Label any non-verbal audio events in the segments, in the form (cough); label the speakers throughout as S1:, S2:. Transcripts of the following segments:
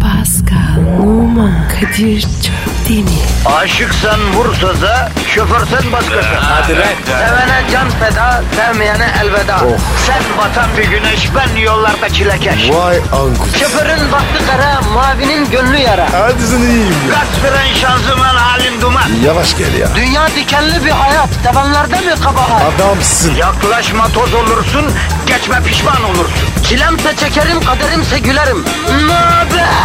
S1: Pascal, Oman, Kadir çok değil mi?
S2: Aşıksan vursa da şoförsen başkasın.
S3: Hadi lan. Oh.
S2: Sevene can feda, sevmeyene elveda. Sen batan bir güneş, ben yollarda çilekeş.
S3: Vay anku.
S2: Şoförün baktı kara, mavinin gönlü yara.
S3: Hadi sen iyiyim ya.
S2: Kasperen şanzıman halin duman.
S3: Yavaş gel ya.
S2: Dünya dikenli bir hayat, sevenlerde mi kabahar?
S3: Adamsın.
S2: Yaklaşma toz olursun, geçme pişman olursun. Çilemse çekerim, kaderimse gülerim. Möber!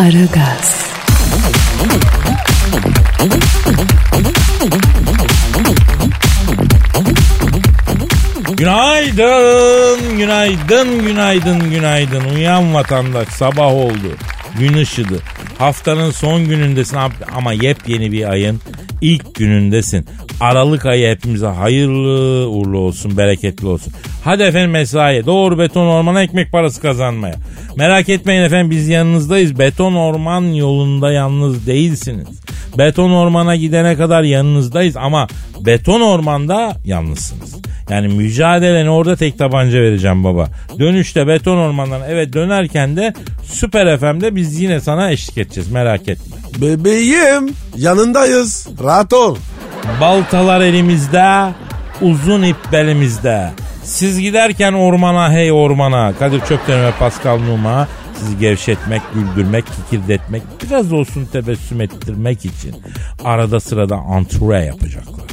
S1: Aragaz,
S4: Günaydın, günaydın, günaydın, günaydın. Uyan vatandaş, sabah oldu. Gün ışıdı. Haftanın son günündesin ab- ama yepyeni bir ayın ilk günündesin. Aralık ayı hepimize hayırlı uğurlu olsun, bereketli olsun. Hadi efendim mesaiye, doğru beton ormana ekmek parası kazanmaya. Merak etmeyin efendim biz yanınızdayız. Beton orman yolunda yalnız değilsiniz. Beton ormana gidene kadar yanınızdayız ama beton ormanda yalnızsınız. Yani mücadeleni orada tek tabanca vereceğim baba. Dönüşte beton ormandan eve dönerken de Süper FM'de biz yine sana eşlik edeceğiz merak etme.
S3: Bebeğim yanındayız. Rahat ol.
S4: Baltalar elimizde, uzun ip belimizde. Siz giderken ormana hey ormana. Kadir Çöpten ve Pascal Numa sizi gevşetmek, güldürmek, kikirdetmek, biraz olsun tebessüm ettirmek için arada sırada antre yapacaklar.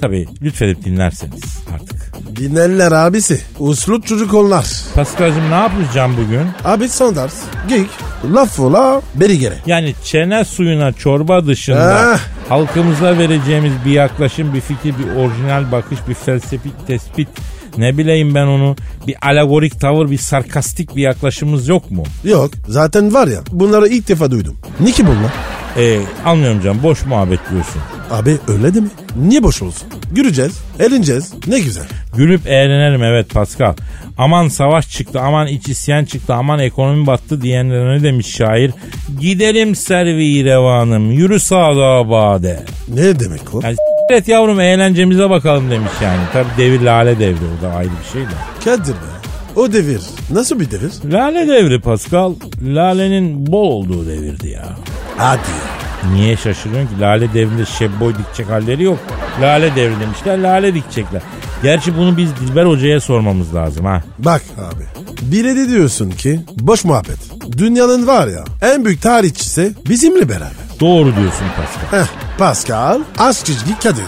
S4: Tabii lütfedip dinlerseniz artık.
S3: Dinerler abisi. Uslut çocuk onlar.
S4: Pascal'cığım ne yapacağım bugün?
S3: Abi son ders. Gig. Laf ola beri gere.
S4: Yani çene suyuna çorba dışında
S3: Ah.
S4: halkımıza vereceğimiz bir yaklaşım, bir fikir, bir orijinal bakış, bir felsefik tespit ne bileyim ben onu bir alegorik tavır, bir sarkastik bir yaklaşımımız yok mu?
S3: Yok zaten var ya bunları ilk defa duydum. Ne ki bunlar?
S4: Ee, anlıyorum canım boş muhabbet diyorsun.
S3: Abi öyle değil mi? Niye boş olsun? Güleceğiz, eğleneceğiz. Ne güzel.
S4: Gülüp eğlenelim evet Pascal. Aman savaş çıktı, aman iç isyan çıktı, aman ekonomi battı diyenlere ne demiş şair? Gidelim servi revanım, yürü sağda abade.
S3: Ne demek o?
S4: Yani s- et yavrum eğlencemize bakalım demiş yani. Tabi devir lale devri o da ayrı bir şey de.
S3: Kadir be. O devir. Nasıl bir devir?
S4: Lale devri Pascal, lalenin bol olduğu devirdi ya.
S3: Hadi.
S4: Niye şaşırıyorsun ki? Lale devrinde şebboy dikecek halleri yok. Lale devri demişler, lale dikecekler. Gerçi bunu biz Dilber Hoca'ya sormamız lazım ha.
S3: Bak abi. Bire de diyorsun ki boş muhabbet. Dünyanın var ya en büyük tarihçisi bizimle beraber.
S4: Doğru diyorsun Pascal.
S3: Heh, Pascal Askizgi Kadir.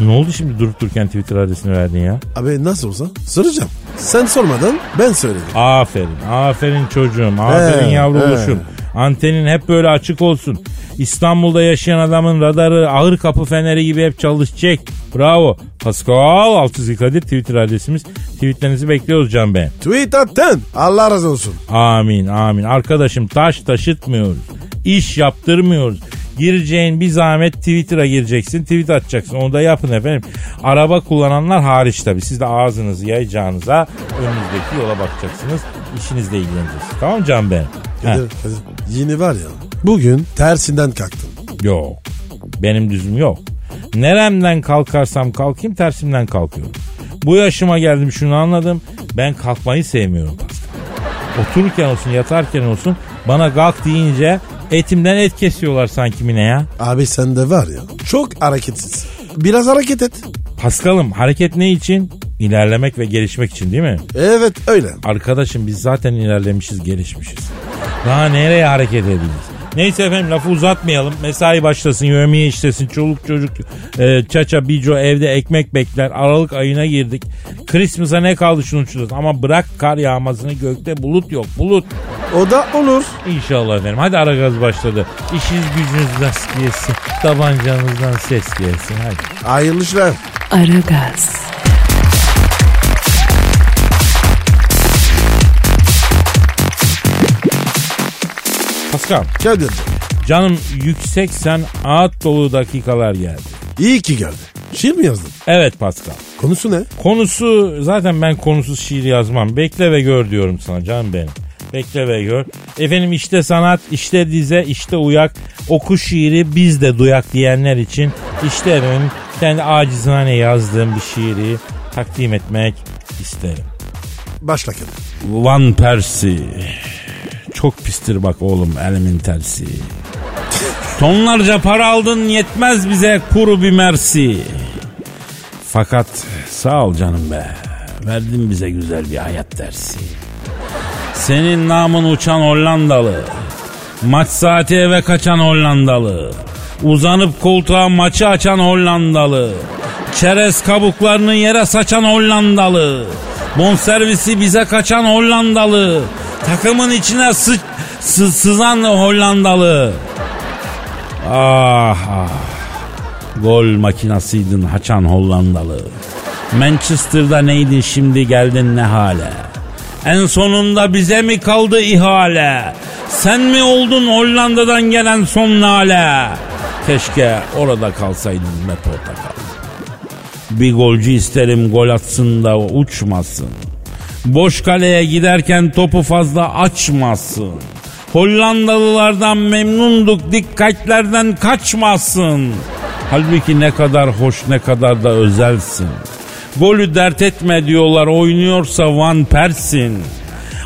S4: Ne oldu şimdi durup dururken Twitter adresini verdin ya?
S3: Abi nasıl olsa soracağım. Sen sormadan ben söyledim.
S4: Aferin, aferin çocuğum, aferin
S3: He,
S4: yavru
S3: he.
S4: oluşum. Antenin hep böyle açık olsun. İstanbul'da yaşayan adamın radarı ağır kapı feneri gibi hep çalışacak. Bravo. Pascal Altçizgi Kadir Twitter adresimiz. Tweetlerinizi bekliyoruz Can Bey.
S3: Tweet attın. Allah razı olsun.
S4: Amin amin. Arkadaşım taş taşıtmıyoruz. İş yaptırmıyoruz. Gireceğin bir zahmet Twitter'a gireceksin. Tweet atacaksın. Onu da yapın efendim. Araba kullananlar hariç tabii. Siz de ağzınızı yayacağınıza önünüzdeki yola bakacaksınız. İşinizle ilgileneceksiniz. Tamam mı Can Bey? Heh,
S3: Kadir, Kadir, Yeni var ya. Bugün tersinden kalktım.
S4: yok. Benim düzüm yok. Neremden kalkarsam kalkayım tersimden kalkıyorum. Bu yaşıma geldim şunu anladım. Ben kalkmayı sevmiyorum Pascal. Otururken olsun yatarken olsun bana kalk deyince etimden et kesiyorlar sanki mine ya.
S3: Abi sen de var ya. Çok hareketsiz. Biraz hareket et.
S4: Paskal'ım hareket ne için? İlerlemek ve gelişmek için değil mi?
S3: Evet öyle.
S4: Arkadaşım biz zaten ilerlemişiz gelişmişiz. Daha nereye hareket edeceğiz? Neyse efendim lafı uzatmayalım. Mesai başlasın, yövmeye işlesin. Çoluk çocuk, e, çaça, bico evde ekmek bekler. Aralık ayına girdik. Christmas'a ne kaldı şunu çözün. Ama bırak kar yağmasını gökte bulut yok. Bulut.
S3: O da olur.
S4: İnşallah efendim. Hadi ara gaz başladı. İşiniz gücünüz rast gelsin. Tabancanızdan ses gelsin. Hadi.
S3: Hayırlı işler.
S1: Aragaz,
S4: Paskal.
S3: Kadir.
S4: Canım yüksek sen ağıt dolu dakikalar geldi.
S3: İyi ki geldi. Şiir mi yazdın?
S4: Evet Pascal.
S3: Konusu ne?
S4: Konusu zaten ben konusuz şiir yazmam. Bekle ve gör diyorum sana canım benim. Bekle ve gör. Efendim işte sanat, işte dize, işte uyak. Oku şiiri biz de duyak diyenler için işte efendim kendi acizane yazdığım bir şiiri takdim etmek isterim.
S3: Başla Kadir.
S4: Van Persie. Çok pistir bak oğlum elimin tersi. Tonlarca para aldın yetmez bize kuru bir mersi. Fakat sağ ol canım be. Verdin bize güzel bir hayat dersi. Senin namın uçan Hollandalı. Maç saati eve kaçan Hollandalı. Uzanıp koltuğa maçı açan Hollandalı. Çerez kabuklarını yere saçan Hollandalı. Bonservisi bize kaçan Hollandalı. Takımın içine sı- sı- sızan Hollandalı. Ah ah. Gol makinasıydın haçan Hollandalı. Manchester'da neydin şimdi geldin ne hale? En sonunda bize mi kaldı ihale? Sen mi oldun Hollanda'dan gelen son nale? Keşke orada kalsaydın be portakal. Bir golcü isterim gol atsın da uçmasın. Boş kaleye giderken topu fazla açmasın. Hollandalılardan memnunduk dikkatlerden kaçmasın. Halbuki ne kadar hoş ne kadar da özelsin. Golü dert etme diyorlar oynuyorsa Van Persin.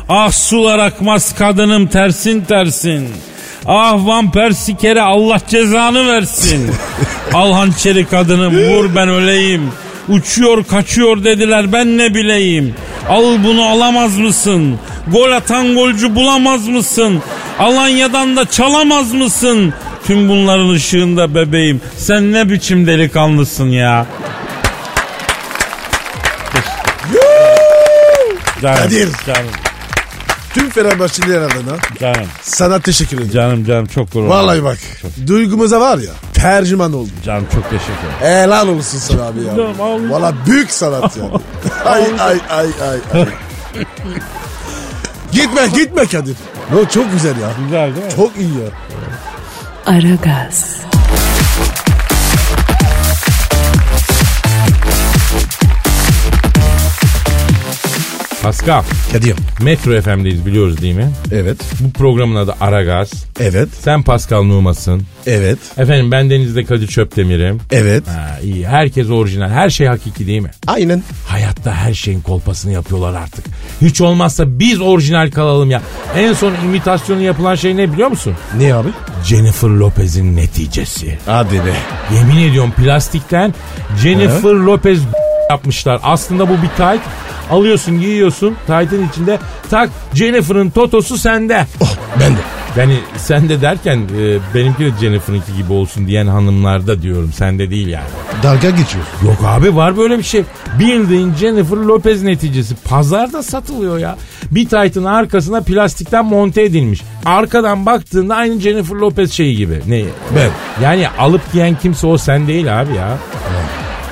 S4: Ah sular akmaz kadınım tersin tersin. Ah Van Persie kere Allah cezanı versin.
S3: (laughs)
S4: Al hançeri kadınım vur ben öleyim. Uçuyor kaçıyor dediler ben ne bileyim. Al bunu alamaz mısın? Gol atan golcü bulamaz mısın? Alanya'dan da çalamaz mısın? Tüm bunların ışığında bebeğim sen ne biçim delikanlısın ya. Canım,
S3: Kadir.
S4: Canım,
S3: Tüm Fenerbahçeliler adına
S4: canım,
S3: sana teşekkür ederim.
S4: canım, canım çok gurur.
S3: Vallahi bak duygumuza var ya tercüman oldum.
S4: Canım çok teşekkür ederim.
S3: Helal olsun sana abi ya.
S4: Canım, ağlayacağım.
S3: Valla büyük sanat yani. ay ay ay ay. ay. gitme gitme Kadir. No, çok güzel ya.
S4: Güzel değil mi?
S3: Çok iyi ya.
S1: Aragaz,
S5: Pascal,
S3: Kadir.
S5: Metro FM'deyiz biliyoruz değil mi?
S3: Evet.
S5: Bu programın adı Aragaz.
S3: Evet.
S5: Sen Pascal Numas'ın.
S3: Evet.
S5: Efendim ben Deniz'de Kadir Çöpdemir'im.
S3: Evet.
S5: Ha, iyi. Herkes orijinal. Her şey hakiki değil mi?
S3: Aynen.
S5: Hayatta her şeyin kolpasını yapıyorlar artık. Hiç olmazsa biz orijinal kalalım ya. En son imitasyonu yapılan şey ne biliyor musun?
S3: Ne abi?
S5: Jennifer Lopez'in neticesi.
S3: Hadi be.
S5: Yemin ediyorum plastikten Jennifer Lopez yapmışlar. Aslında bu bir tayt. Alıyorsun giyiyorsun taytın içinde tak Jennifer'ın totosu sende.
S3: Oh ben de.
S5: Yani sende derken e, benimki de Jennifer'ınki gibi olsun diyen hanımlarda diyorum sende değil yani.
S3: Dalga geçiyorsun.
S5: Yok abi var böyle bir şey. Bildiğin Jennifer Lopez neticesi. Pazarda satılıyor ya. Bir taytın arkasına plastikten monte edilmiş. Arkadan baktığında aynı Jennifer Lopez şeyi gibi. Ne?
S3: Ben.
S5: Yani alıp giyen kimse o sen değil abi ya.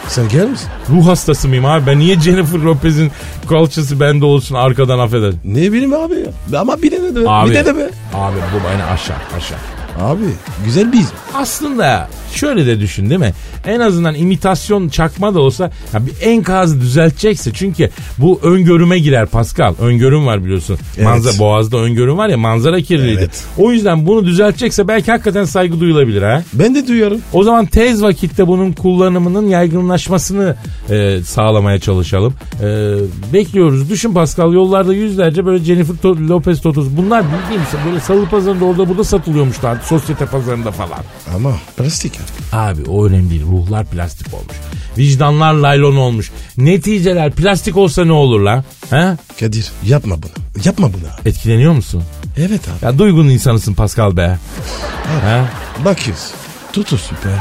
S3: Sen gelir misin?
S5: Ruh hastası mıyım abi? Ben niye Jennifer Lopez'in kalçası bende olsun arkadan affeder.
S3: Ne bileyim abi ya. Ama bir de de.
S5: Abi.
S3: Bir de de be.
S5: Abi bu beni aşağı aşağı.
S3: Abi güzel bir izin.
S5: Aslında şöyle de düşün değil mi? En azından imitasyon çakma da olsa ya bir enkazı düzeltecekse çünkü bu öngörüme girer Pascal. Öngörüm var biliyorsun.
S3: Evet.
S5: Manza boğazda öngörüm var ya manzara kirliydi.
S3: Evet.
S5: O yüzden bunu düzeltecekse belki hakikaten saygı duyulabilir ha.
S3: Ben de duyarım.
S5: O zaman tez vakitte bunun kullanımının yaygınlaşmasını e, sağlamaya çalışalım. E, bekliyoruz. Düşün Pascal yollarda yüzlerce böyle Jennifer To- Lopez Totos. Bunlar bildiğimiz böyle salı pazarında orada burada satılıyormuş daha sosyete pazarında falan.
S3: Ama plastik. ya.
S5: Abi o önemli değil. Ruhlar plastik olmuş. Vicdanlar laylon olmuş. Neticeler plastik olsa ne olur lan? He?
S3: Kadir yapma bunu. Yapma bunu. abi.
S5: Etkileniyor musun?
S3: Evet abi.
S5: Ya duygun insanısın Pascal be. He?
S3: Bakıyoruz. Tutu süper.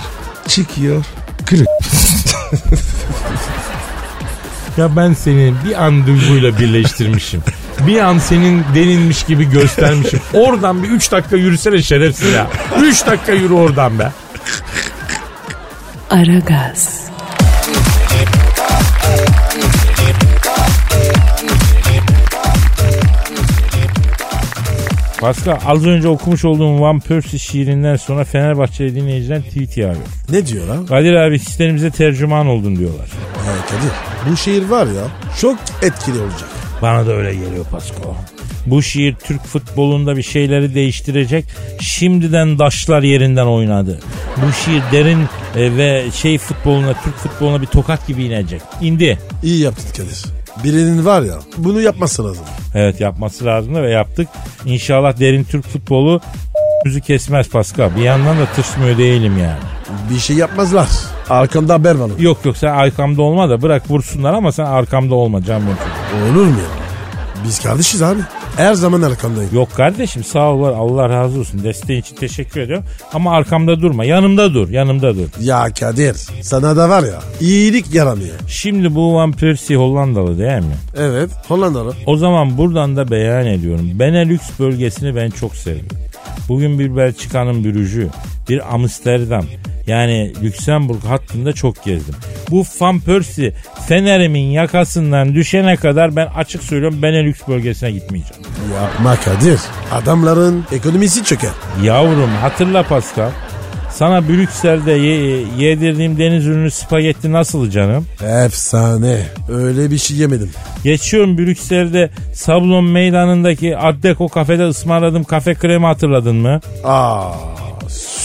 S3: Çıkıyor. Kırık.
S5: Ya ben seni bir an duyguyla
S4: (laughs)
S5: birleştirmişim. bir an senin deninmiş gibi göstermişim. Oradan bir 3 dakika yürüsene şerefsiz ya. 3 dakika yürü oradan be.
S1: Aragaz,
S4: Pascal az önce okumuş olduğum Van Persie şiirinden sonra Fenerbahçeli dinleyiciden tweet yağıyor.
S3: Ne diyor lan?
S4: Kadir abi hislerimize tercüman oldun diyorlar.
S3: Ha, Kadir bu şehir var ya çok etkili olacak.
S4: Bana da öyle geliyor Pasko. Bu şiir Türk futbolunda bir şeyleri değiştirecek. Şimdiden daşlar yerinden oynadı. Bu şiir derin e, ve şey futboluna, Türk futboluna bir tokat gibi inecek. İndi.
S3: İyi yaptın Kadir. Birinin var ya bunu yapması lazım.
S4: Evet yapması lazımdı ve yaptık. İnşallah derin Türk futbolu yüzü kesmez Pascal. Bir yandan da tırsmıyor değilim yani.
S3: Bir şey yapmazlar. Arkamda haber var.
S4: Yok yok sen arkamda olma da bırak vursunlar ama sen arkamda olma Can Bey.
S3: Olur mu ya? Biz kardeşiz abi. Her zaman arkandayım.
S4: Yok kardeşim sağ ol var Allah razı olsun. Desteğin için teşekkür ediyorum. Ama arkamda durma. Yanımda dur. Yanımda dur.
S3: Ya Kadir sana da var ya iyilik yaramıyor.
S4: Şimdi bu Van Persie Hollandalı değil mi?
S3: Evet Hollandalı.
S4: O zaman buradan da beyan ediyorum. Benelux bölgesini ben çok severim. Bugün bir Belçika'nın bürücü, bir Amsterdam, yani Lüksemburg hattında çok gezdim. Bu Van Persie Fener'imin yakasından düşene kadar ben açık söylüyorum Benelux bölgesine gitmeyeceğim.
S3: Yapma Kadir. Adamların ekonomisi çöker.
S4: Yavrum hatırla Pascal. Sana Brüksel'de ye- yedirdiğim deniz ürünü spagetti nasıl canım?
S3: Efsane. Öyle bir şey yemedim.
S4: Geçiyorum Brüksel'de Sablon meydanındaki Art Deco kafede ısmarladığım kafe kremi hatırladın mı?
S3: Aa,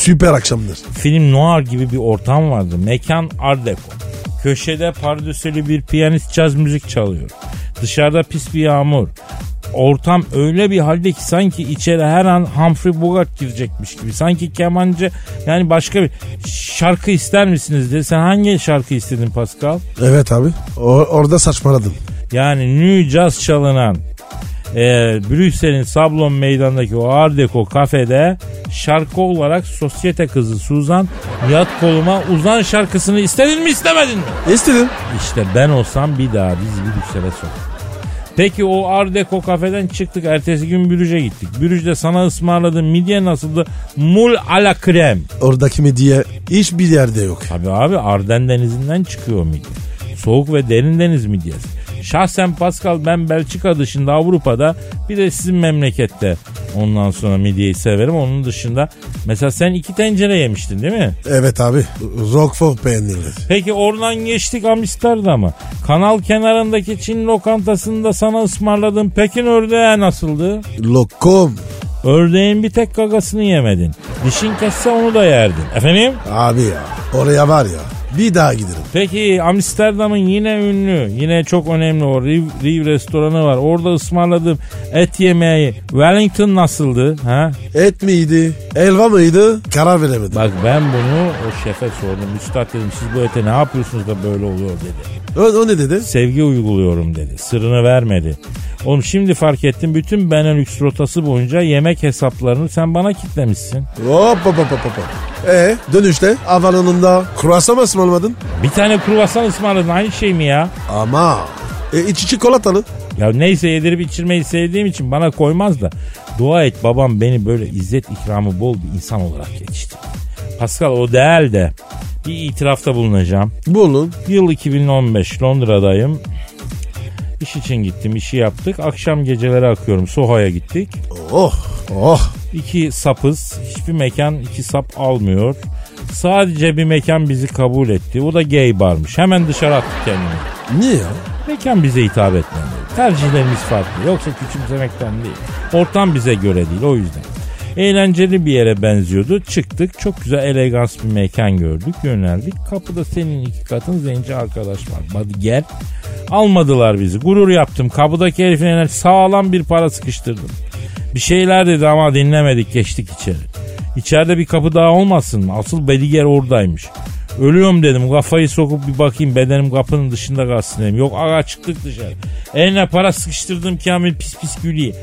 S3: süper akşamdır.
S4: Film noir gibi bir ortam vardı. Mekan Art Deco. Köşede pardösülü bir piyanist caz müzik çalıyor. Dışarıda pis bir yağmur. Ortam öyle bir halde ki sanki içeri her an Humphrey Bogart girecekmiş gibi. Sanki kemancı yani başka bir şarkı ister misiniz diye. Sen hangi şarkı istedin Pascal?
S3: Evet abi. O- orada saçmaladım.
S4: Yani New Jazz çalınan e, Brüksel'in Sablon meydanındaki o Art Deco kafede şarkı olarak sosyete kızı Suzan yat koluma uzan şarkısını istedin mi istemedin mi?
S3: İstedim.
S4: İşte ben olsam bir daha biz Brüksel'e sok. Peki o Art Deco kafeden çıktık. Ertesi gün Brüj'e gittik. Brüj'de sana ısmarladığım midye nasıldı? Mul à la crème.
S3: Oradaki midye hiçbir yerde yok.
S4: Tabii abi Arden denizinden çıkıyor midye. Soğuk ve derin deniz midyesi. Şahsen Pascal ben Belçika dışında Avrupa'da bir de sizin memlekette ondan sonra midyeyi severim. Onun dışında mesela sen iki tencere yemiştin değil mi?
S3: Evet abi. Roquefort peynirli.
S4: Peki oradan geçtik Amsterdam'a. Kanal kenarındaki Çin lokantasında sana ısmarladığım Pekin ördeği nasıldı?
S3: Lokum.
S4: Ördeğin bir tek gagasını yemedin. Dişin kesse onu da yerdin. Efendim?
S3: Abi ya. Oraya var ya. Bir daha giderim.
S4: Peki Amsterdam'ın yine ünlü, yine çok önemli o Riv, Riv restoranı var. Orada ısmarladığım et yemeği Wellington nasıldı? Ha?
S3: Et miydi? Elva mıydı? Karar veremedim.
S4: Bak ben bunu o şefe sordum. Üstad dedim siz bu ete ne yapıyorsunuz da böyle oluyor dedi.
S3: O, o ne dedi?
S4: Sevgi uyguluyorum dedi. Sırrını vermedi. Oğlum şimdi fark ettim bütün Benelux rotası boyunca yemek hesaplarını sen bana kitlemişsin.
S3: Hop hop hop hop hop. E dönüşte havalanında kruvasan mı ısmarlamadın?
S4: Bir tane kruvasan ısmarladın aynı şey mi ya?
S3: Ama e, içi çikolatalı.
S4: Ya neyse yedirip içirmeyi sevdiğim için bana koymaz da. Dua et babam beni böyle izzet ikramı bol bir insan olarak yetiştirdi. Pascal o değil de bir itirafta bulunacağım.
S3: Bulun.
S4: Yıl 2015 Londra'dayım. İş için gittim, işi yaptık. Akşam geceleri akıyorum. Soha'ya gittik.
S3: Oh oh.
S4: İki sapız. Hiçbir mekan iki sap almıyor. Sadece bir mekan bizi kabul etti. O da gay barmış. Hemen dışarı attık kendimizi.
S3: Niye ya?
S4: Mekan bize hitap etmedi. Tercihlerimiz farklı. Yoksa küçümsemekten değil. Ortam bize göre değil o yüzden. Eğlenceli bir yere benziyordu. Çıktık çok güzel elegans bir mekan gördük. Yöneldik. Kapıda senin iki katın zenci arkadaş var. Hadi gel. Almadılar bizi. Gurur yaptım. Kapıdaki herifin eline sağlam bir para sıkıştırdım. Bir şeyler dedi ama dinlemedik geçtik içeri. İçeride bir kapı daha olmasın mı? Asıl Bediger oradaymış. Ölüyorum dedim kafayı sokup bir bakayım bedenim kapının dışında kalsın dedim. Yok aga çıktık dışarı. Eline para sıkıştırdım Kamil pis pis gülüyor.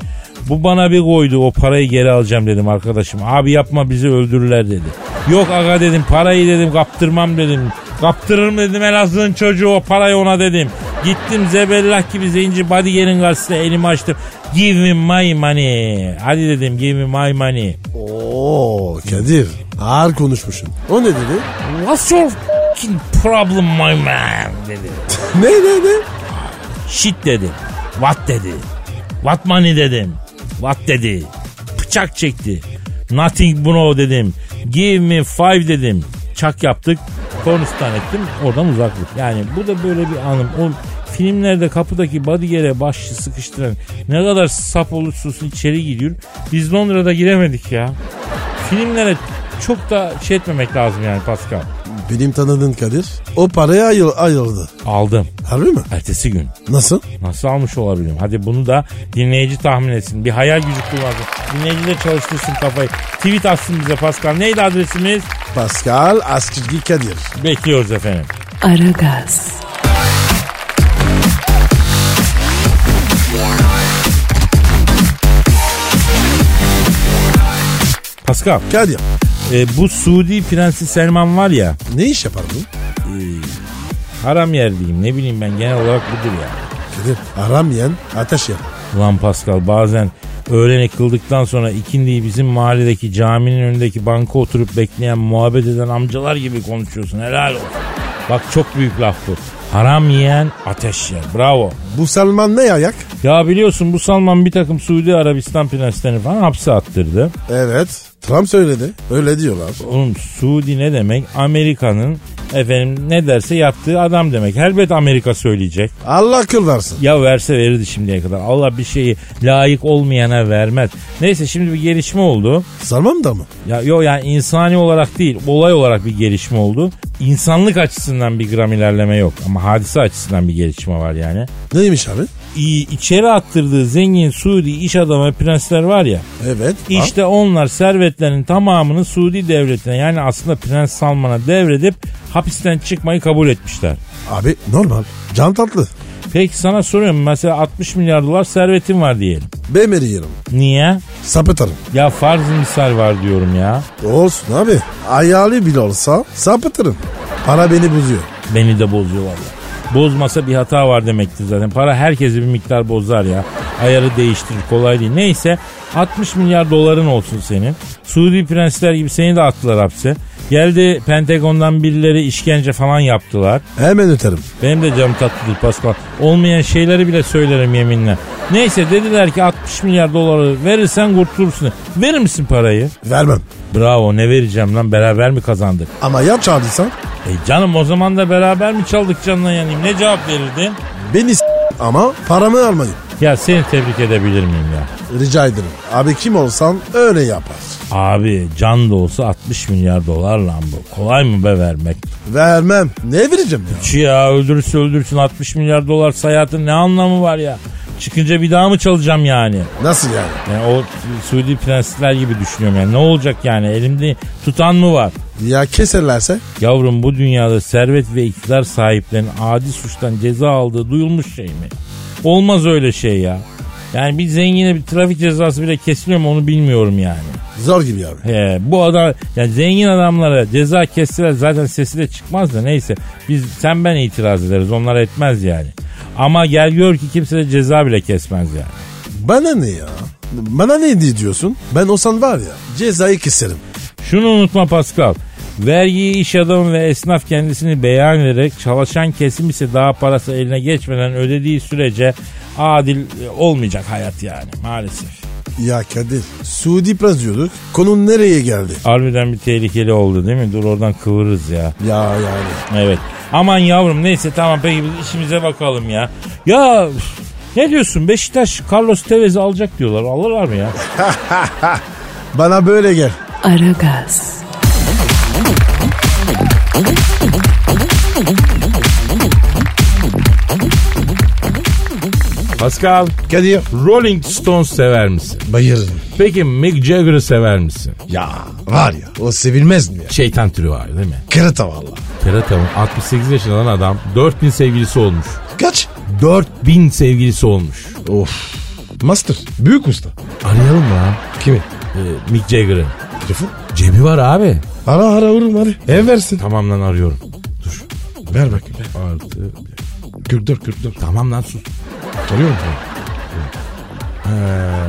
S4: Bu bana bir koydu o parayı geri alacağım dedim arkadaşım. Abi yapma bizi öldürürler dedi. Yok aga dedim parayı dedim kaptırmam dedim. Kaptırırım dedim Elazığ'ın çocuğu o parayı ona dedim. Gittim zebellah gibi zenci bodyguard'in karşısında elimi açtım. Give me my money. Hadi dedim give me my money.
S3: Oo Kadir. Ağır konuşmuşsun. O ne dedi?
S4: What's your f***ing problem my man dedi.
S3: Ne ne ne?
S4: Shit dedi. What dedi. What money dedim. What dedi. Bıçak çekti. Nothing bro dedim. Give me five dedim. Çak yaptık. Kornistan ettim. Oradan uzaklık. Yani bu da böyle bir anım. O filmlerde kapıdaki bodyguard'e başçı sıkıştıran ne kadar sap olursa olsun içeri giriyor. Biz Londra'da giremedik ya. Filmlere çok da şey etmemek lazım yani Pascal.
S3: Benim tanıdığım Kadir o paraya ayıl, ayıldı.
S4: Aldım.
S3: Harbi mi?
S4: Ertesi gün.
S3: Nasıl?
S4: Nasıl almış olabilirim? Hadi bunu da dinleyici tahmin etsin. Bir hayal gücü kullansın. Dinleyici de çalıştırsın kafayı. Tweet atsın bize Pascal. Neydi adresimiz?
S3: Pascal Askizgi Kadir.
S4: Bekliyoruz efendim.
S1: Aragaz,
S4: Pascal,
S3: Kadir
S4: e, bu Suudi Prensi Selman var ya,
S3: ne iş yapar bu?
S4: haram yer diyeyim ne bileyim ben genel olarak budur yani.
S3: Kadir aram yiyen ateş yer.
S4: Ulan Pascal bazen öğlene kıldıktan sonra ikindiği bizim mahalledeki caminin önündeki banka oturup bekleyen muhabbet eden amcalar gibi konuşuyorsun helal olsun. Bak çok büyük laf bu. Haram yiyen ateş yer. Bravo.
S3: Bu Salman ne ayak?
S4: Ya biliyorsun bu Salman bir takım Suudi Arabistan prenslerini falan hapse attırdı.
S3: Evet. Trump söyledi. Öyle diyorlar.
S4: Oğlum Suudi ne demek? Amerika'nın efendim ne derse yaptığı adam demek. Elbet Amerika söyleyecek.
S3: Allah akıl versin.
S4: Ya verse verirdi şimdiye kadar. Allah bir şeyi layık olmayana vermez. Neyse şimdi bir gelişme oldu.
S3: Salman da mı?
S4: Ya yok yani insani olarak değil, olay olarak bir gelişme oldu. İnsanlık açısından bir gram ilerleme yok ama hadise açısından bir gelişme var yani.
S3: Neymiş abi?
S4: İ- içeri attırdığı zengin Suudi iş adamı ve prensler var ya.
S3: Evet. İşte.
S4: İşte onlar servetlerin tamamını Suudi devletine yani aslında Prens Salman'a devredip hapisten çıkmayı kabul etmişler.
S3: Abi normal. Can tatlı.
S4: Peki sana soruyorum mesela 60 milyar dolar servetin var diyelim.
S3: Bemeri yerim.
S4: Niye?
S3: Sapıtarım.
S4: Ya farz misal var diyorum ya.
S3: Olsun abi. Ayarlı bile olsa sapıtırım. Para beni bozuyor.
S4: Beni de bozuyor valla. Bozmasa bir hata var demektir zaten. Para herkesi bir miktar bozar ya. Ayarı değiştirir kolay değil. Neyse 60 milyar doların olsun senin. Suudi prensler gibi seni de attılar hapse. Geldi Pentagon'dan birileri işkence falan yaptılar.
S3: Hemen öterim.
S4: Benim de canım tatlıdır Pascal. Olmayan şeyleri bile söylerim yeminle. Neyse dediler ki 60 milyar doları verirsen kurtulursun. Verir misin parayı?
S3: Vermem.
S4: Bravo ne vereceğim lan beraber mi kazandık?
S3: Ama ya çaldıysan
S4: E canım o zaman da beraber mi çaldık canına yanayım? Ne cevap verirdin?
S3: beni s- ama paramı almayın.
S4: Ya seni tebrik edebilir miyim ya?
S3: Rica ederim. Abi kim olsan öyle yapar.
S4: Abi can da olsa 60 milyar dolar lan bu. Kolay mı be vermek?
S3: Vermem. Ne vereceğim ya?
S4: Çi ya öldürürse öldürsün 60 milyar dolar hayatın ne anlamı var ya? Çıkınca bir daha mı çalacağım yani?
S3: Nasıl yani?
S4: Yani o Suudi prensler gibi düşünüyorum yani. Ne olacak yani? Elimde tutan mı var?
S3: Ya keserlerse?
S4: Yavrum bu dünyada servet ve iktidar sahiplerinin adi suçtan ceza aldığı duyulmuş şey mi? Olmaz öyle şey ya. Yani bir zengine bir trafik cezası bile kesiliyor mu onu bilmiyorum yani.
S3: Zor gibi abi.
S4: He, bu adam yani zengin adamlara ceza kestiler zaten sesi de çıkmaz da neyse. Biz sen ben itiraz ederiz onlar etmez yani. Ama gel gör ki kimse de ceza bile kesmez yani.
S3: Bana ne ya? Bana ne diye diyorsun? Ben olsan var ya cezayı keserim.
S4: Şunu unutma Pascal. Vergiyi iş adamı ve esnaf kendisini beyan ederek çalışan kesim ise daha parası eline geçmeden ödediği sürece adil e, olmayacak hayat yani maalesef.
S3: Ya Kadir Suudi Prens diyorduk. Konu nereye geldi?
S4: Harbiden bir tehlikeli oldu değil mi? Dur oradan kıvırırız ya.
S3: Ya yani.
S4: Evet. Aman yavrum neyse tamam peki biz işimize bakalım ya. Ya üf, ne diyorsun Beşiktaş Carlos Tevez'i alacak diyorlar. Alırlar mı ya?
S3: Bana böyle gel.
S1: Aragaz,
S5: Pascal,
S3: Kadir.
S5: Rolling Stones sever misin?
S3: Bayılırım.
S5: Peki Mick Jagger'ı sever misin?
S3: Ya var ya o sevilmez mi ya?
S5: Şeytan türü var değil mi?
S3: Kırıta valla.
S5: Kerata'nın 68 yaşından adam 4000 sevgilisi olmuş.
S3: Kaç?
S5: 4000 sevgilisi olmuş.
S3: Of. Master. Büyük usta.
S5: Arayalım mı lan?
S3: Kimi?
S5: Ee, Mick Jagger'ı.
S3: Telefon.
S5: Cebi var abi.
S3: Ara ara vurum hadi. Ev versin.
S5: Tamam lan arıyorum. Dur.
S3: Ver bakayım.
S5: Artı.
S3: 44 44.
S5: Tamam lan sus.
S3: Soruyorum sana.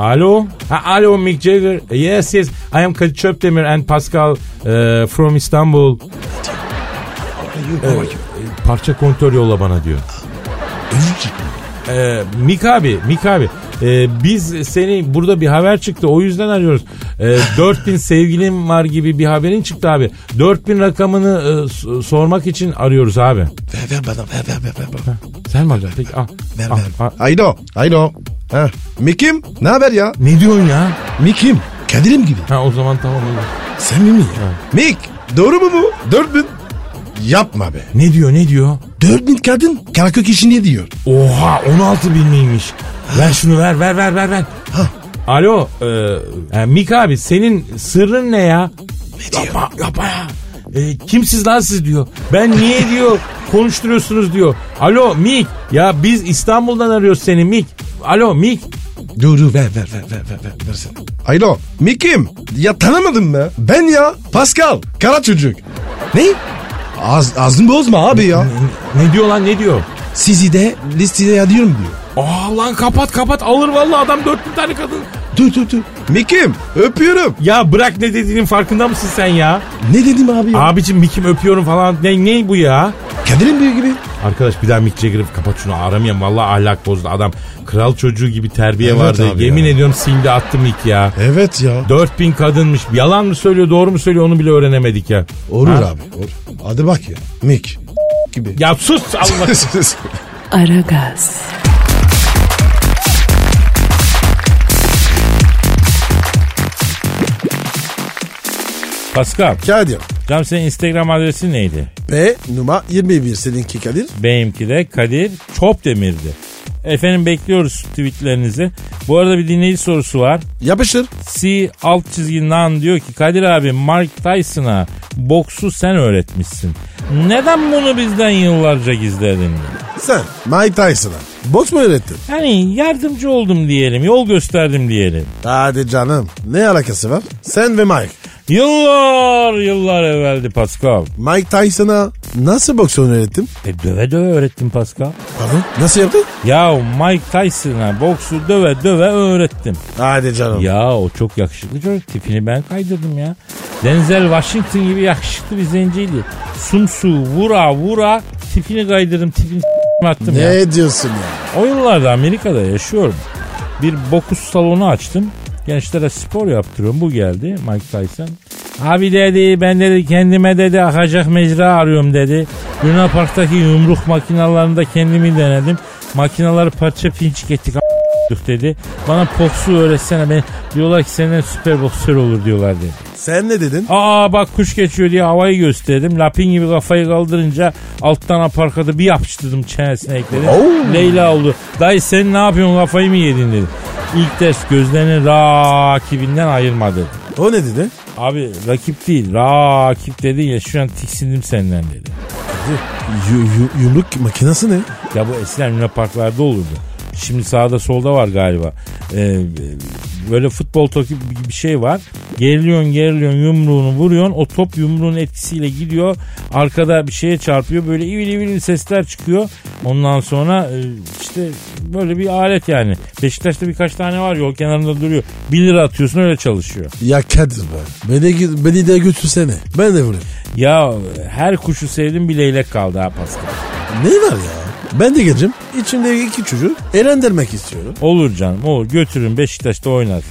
S5: Alo. Ha, alo Mick Jagger. Yes yes. I am Kadir Çöpdemir and Pascal eh, from Istanbul.
S3: Evet.
S5: Parça kontör yolla bana diyor. Ee, Mik abi, Mik abi. Ee, biz seni burada bir haber çıktı o yüzden arıyoruz. Ee, 4000 sevgilim var gibi bir haberin çıktı abi. 4000 rakamını e, s- sormak için arıyoruz abi.
S3: Ver ver bana ver ver ver ver. ver.
S5: Sen mi alacaksın? Peki ah, al.
S3: Ver
S5: al, al.
S3: ver. Aydo. Aydo. Ha. Mikim? Ne haber ya?
S5: Ne diyorsun ya?
S3: Mikim. Kadir'im gibi.
S5: Ha o zaman tamam. olur.
S3: Sen mi mi ya? Mik.
S6: Doğru mu bu? 4000.
S3: Yapma be.
S5: Ne diyor ne diyor?
S6: 4000 kadın Karakök işini diyor.
S5: Oha 16 bin miymiş? Ver şunu ver ver ver ver ver. Alo e, e, Mik abi senin sırrın ne ya? Ne yapma, yapma ya. E, kimsiz lan siz diyor. Ben niye diyor konuşturuyorsunuz diyor. Alo Mik ya biz İstanbul'dan arıyoruz seni Mik. Alo Mik
S6: Dur dur ver ver ver ver ver ver. Versene. Alo Mikim ya tanımadım mı? Ben ya Pascal kara çocuk. Ne? Az, ağzını bozma abi ya.
S5: ne diyor lan ne diyor?
S6: Sizi de listeye yazıyorum diyor.
S5: Aa lan kapat kapat alır vallahi adam 4000 tane kadın.
S6: Dur dur dur. Mikim öpüyorum.
S5: Ya bırak ne dediğinin farkında mısın sen ya?
S6: Ne dedim abi ya?
S5: Abicim Mik'im öpüyorum falan ne, ne bu ya?
S6: Kadir'in büyüğü gibi.
S5: Arkadaş bir daha Mick Jagger'ı kapat şunu aramayayım. Vallahi ahlak bozdu adam. Kral çocuğu gibi terbiye
S6: Evet
S5: vardı.
S6: abi
S5: Yemin
S6: ya.
S5: ediyorum sildi attı Mick ya.
S6: Evet ya.
S5: 4000 kadınmış. Yalan mı söylüyor doğru mu söylüyor onu bile öğrenemedik ya.
S6: Olur
S5: Ha?
S6: abi. Olur. Hadi bak ya. Mik. Gibi.
S5: Ya sus
S6: (laughs)
S5: Allah.
S1: Aragaz,
S4: Pascal,
S3: Kadir.
S4: canım senin Instagram adresin neydi?
S3: Ve numara 21 seninki Kadir.
S4: Benimki de Kadir Çopdemir'di. Efendim bekliyoruz tweetlerinizi. Bu arada bir dinleyici sorusu var.
S3: Yapışır.
S4: C alt çizgi nan diyor ki Kadir abi Mark Tyson'a boksu sen öğretmişsin. Neden bunu bizden yıllarca gizledin?
S3: Sen Mike Tyson'a. Boks mu öğrettin?
S4: Hani yardımcı oldum diyelim, yol gösterdim diyelim.
S3: Hadi canım. Ne alakası var? Sen ve Mike.
S4: Yıllar yıllar evveldi Pascal.
S3: Mike Tyson'a nasıl boks öğrettim?
S4: E döve döve öğrettim Pascal.
S3: Pardon. Nasıl yaptın?
S4: Ya Mike Tyson'a boksu döve döve öğrettim.
S3: Hadi canım.
S4: Ya o çok yakışıklı çocuk tipini ben kaydırdım ya. Denzel Washington gibi yakışıklı bir zenciydi. Sumsu vura vura tipini kaydırdım tipini attım
S3: ne
S4: ya.
S3: diyorsun ya?
S4: O yıllarda Amerika'da yaşıyorum. Bir bokus salonu açtım. Gençlere spor yaptırıyorum. Bu geldi Mike Tyson. Abi dedi ben dedi kendime dedi akacak mecra arıyorum dedi. Luna Park'taki yumruk makinalarında kendimi denedim. Makinaları parça pinçik ettik a**lık dedi. Bana boksu öğretsene ben diyorlar ki senden süper boksör olur diyorlar dedi.
S3: Sen ne dedin?
S4: Aa bak kuş geçiyor diye havayı gösterdim. Lapin gibi kafayı kaldırınca alttan aparkada bir yapıştırdım çenesine ekledim. Leyla oldu. Dayı sen ne yapıyorsun kafayı mı yedin dedi. İlk ders gözlerini rakibinden ayırma dedi.
S3: O ne dedi?
S4: Abi rakip değil rakip dedin ya şu an tiksindim senden dedi.
S3: Yu- yu- yumruk makinesi ne?
S4: Ya bu eskiden Luna Parklarda olurdu. Şimdi sağda solda var galiba. Ee, böyle futbol topu gibi bir şey var. Geriliyorsun geriliyorsun yumruğunu vuruyorsun. O top yumruğun etkisiyle gidiyor. Arkada bir şeye çarpıyor. Böyle ivil ivil sesler çıkıyor. Ondan sonra e, işte böyle bir alet yani. Beşiktaş'ta birkaç tane var yol kenarında duruyor. 1 lira atıyorsun öyle çalışıyor.
S3: Ya Kadir be. Beni, gö- beni de götürsene. Ben de vurayım.
S4: Ya her kuşu sevdim bir leylek kaldı ha Pascal.
S3: Ne var ya? Ben de geleceğim. İçimdeki iki çocuğu eğlendirmek istiyorum.
S4: Olur canım olur götürün Beşiktaş'ta oynar.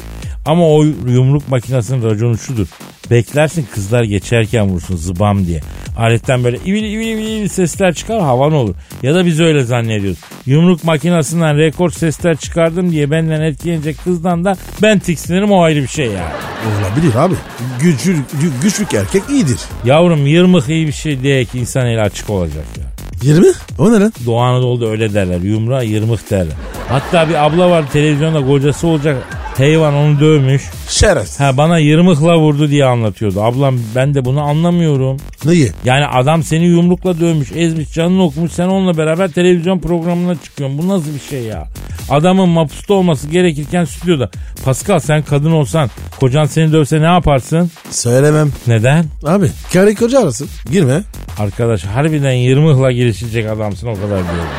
S4: Ama o yumruk makinesinin raconu şudur. Beklersin kızlar geçerken vursun zıbam diye. Aletten böyle ivil ivil ivil ivil sesler çıkar havan olur. Ya da biz öyle zannediyoruz. Yumruk makinesinden rekor sesler çıkardım diye benden etkilenecek kızdan da ben tiksinirim o ayrı bir şey ya.
S3: Olabilir abi. Güçlü, gü- güçlü erkek iyidir.
S4: Yavrum yırmık iyi bir şey diye ki insan eli açık olacak ya.
S3: 20? O ne lan?
S4: Doğu Anadolu'da öyle derler. Yumruğa yırmık derler. Hatta bir abla var televizyonda kocası olacak. Heyvan onu dövmüş.
S3: Şeref.
S4: Ha bana yırmıkla vurdu diye anlatıyordu. Ablam ben de bunu anlamıyorum.
S3: Neyi?
S4: Yani adam seni yumrukla dövmüş, ezmiş, canını okumuş. Sen onunla beraber televizyon programına çıkıyorsun. Bu nasıl bir şey ya? Adamın mapusta olması gerekirken stüdyoda. Pascal sen kadın olsan, kocan seni dövse ne yaparsın?
S3: Söylemem.
S4: Neden?
S3: Abi karı koca arasın. Girme.
S4: Arkadaş harbiden yırmıkla girişilecek adamsın o kadar diyorum.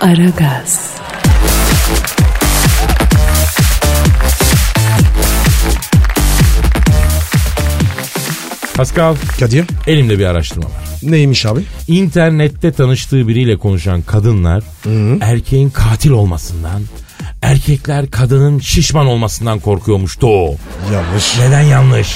S1: Aragaz,
S5: Pascal
S6: Kadir.
S5: elimde bir araştırma var.
S6: Neymiş abi?
S5: İnternette tanıştığı biriyle konuşan kadınlar erkeğin katil olmasından, erkekler kadının şişman olmasından korkuyormuştu o.
S6: Yanlış.
S5: Neden yanlış?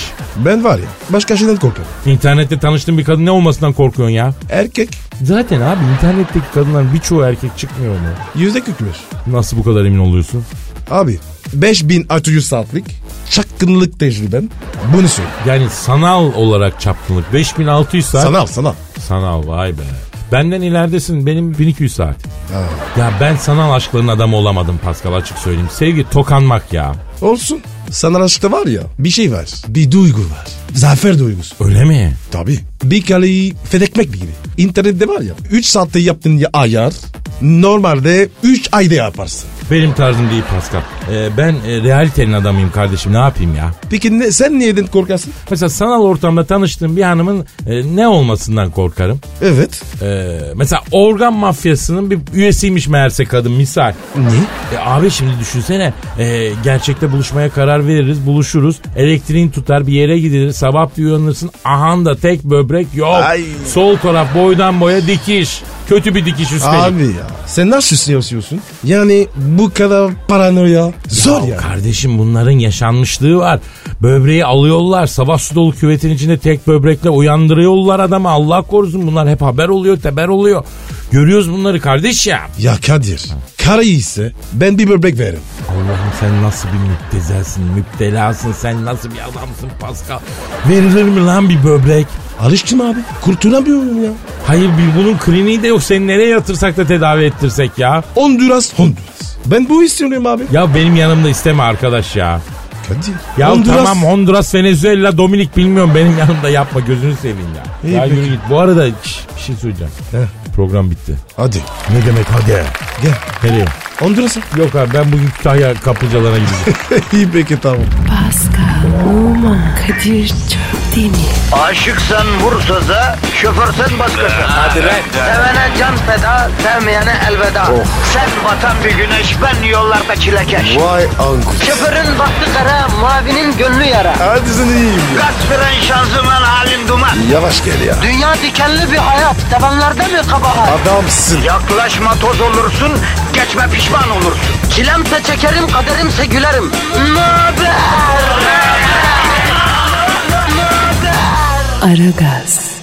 S6: Ben var ya başka şeyden korkarım.
S5: İnternette tanıştığın bir kadın ne olmasından korkuyorsun ya?
S6: Erkek
S5: Zaten abi internetteki kadınların birçoğu erkek çıkmıyor mu?
S6: yüzde kükmür.
S5: Nasıl bu kadar emin oluyorsun?
S6: Abi 5600 saatlik
S3: çakkınlık tecrüben bunu söyle.
S4: Yani sanal olarak çapkınlık. 5600 saat.
S3: Sanal sanal.
S4: Sanal vay be. Benden ileridesin benim 1200 saat. Ya ben sanal aşkların adamı olamadım Pascal açık söyleyeyim. Sevgi tokanmak ya.
S3: Olsun. Sanal aşkta var ya bir şey var. Bir duygu var. Zafer duygusu.
S4: Öyle mi?
S3: Tabii. Bir kaleyi fethekmek gibi. İnternette var ya 3 saatte yaptığın ya- ayar normalde 3 ayda yaparsın.
S4: Benim tarzım değil Pascal. Ee, ben e, realitenin adamıyım kardeşim ne yapayım ya?
S3: Peki ne, sen niyeden korkarsın?
S4: Mesela sanal ortamda tanıştığım bir hanımın e, ne olmasından korkarım.
S3: Evet.
S4: Ee, mesela organ mafyasının bir üyesiymiş meğerse kadın misal.
S3: Niye?
S4: E abi şimdi düşünsene e, gerçekte buluşmaya karar veririz buluşuruz elektriğin tutar bir yere gidilir sabah bir uyanırsın ahanda tek böbrek yok
S3: Ay.
S4: sol taraf boydan boya dikiş kötü bir dikiş üstelik.
S3: Abi ya. Sen nasıl istiyorsun? Yani bu kadar paranoya. Zor ya.
S4: Ya Kardeşim bunların yaşanmışlığı var. Böbreği alıyorlar. Sabah su dolu küvetin içinde tek böbrekle uyandırıyorlar adamı. Allah korusun bunlar hep haber oluyor, teber oluyor. Görüyoruz bunları kardeş ya.
S3: Ya Kadir. Karayı ise ben bir böbrek veririm.
S4: Allah'ım sen nasıl bir müptezelsin, müptelasın, sen nasıl bir adamsın Pascal. Verilir mi lan bir böbrek?
S3: Alıştım abi. Kurtulamıyorum ya.
S4: Hayır bir bunun kliniği de yok. Seni nereye yatırsak da tedavi ettirsek ya.
S3: Honduras, Honduras. Ben bu istiyorum abi.
S4: Ya benim yanımda isteme arkadaş ya.
S3: Kadir.
S4: Ya tamam Honduras, Venezuela, Dominik bilmiyorum benim yanımda yapma gözünü seveyim ya.
S3: İyi,
S4: ya
S3: peki.
S4: yürü git. Bu arada şş, bir şey söyleyeceğim.
S3: Heh.
S4: Program bitti.
S3: Hadi.
S4: Ne demek hadi?
S3: Gel.
S4: Nereye?
S3: Honduras'a.
S4: Yok abi ben bugün Kütahya kaplıcalarına gideceğim.
S3: (laughs) İyi peki tamam.
S1: Pascal, Oman, Kadir çok değil mi?
S2: Aşıksan vursa da, şoförsen başkasın. Hadi Sevene can feda, sevmeyene elveda. Sen batan bir güneş, ben yollarda çilekeş.
S3: Vay anku.
S2: Şoförün baktı kara, mavinin gönlü yara.
S3: Hadi sen iyiyim ya.
S2: Kasperen şanzıman halin duman.
S3: Yavaş gel ya.
S2: Dünya dikenli bir hayat, sevenlerde mi kabahar?
S3: Adamsın.
S2: Yaklaşma toz olursun, geçme pişman olursun. Çilemse çekerim, kaderimse gülerim. Möber!
S1: Aragaz.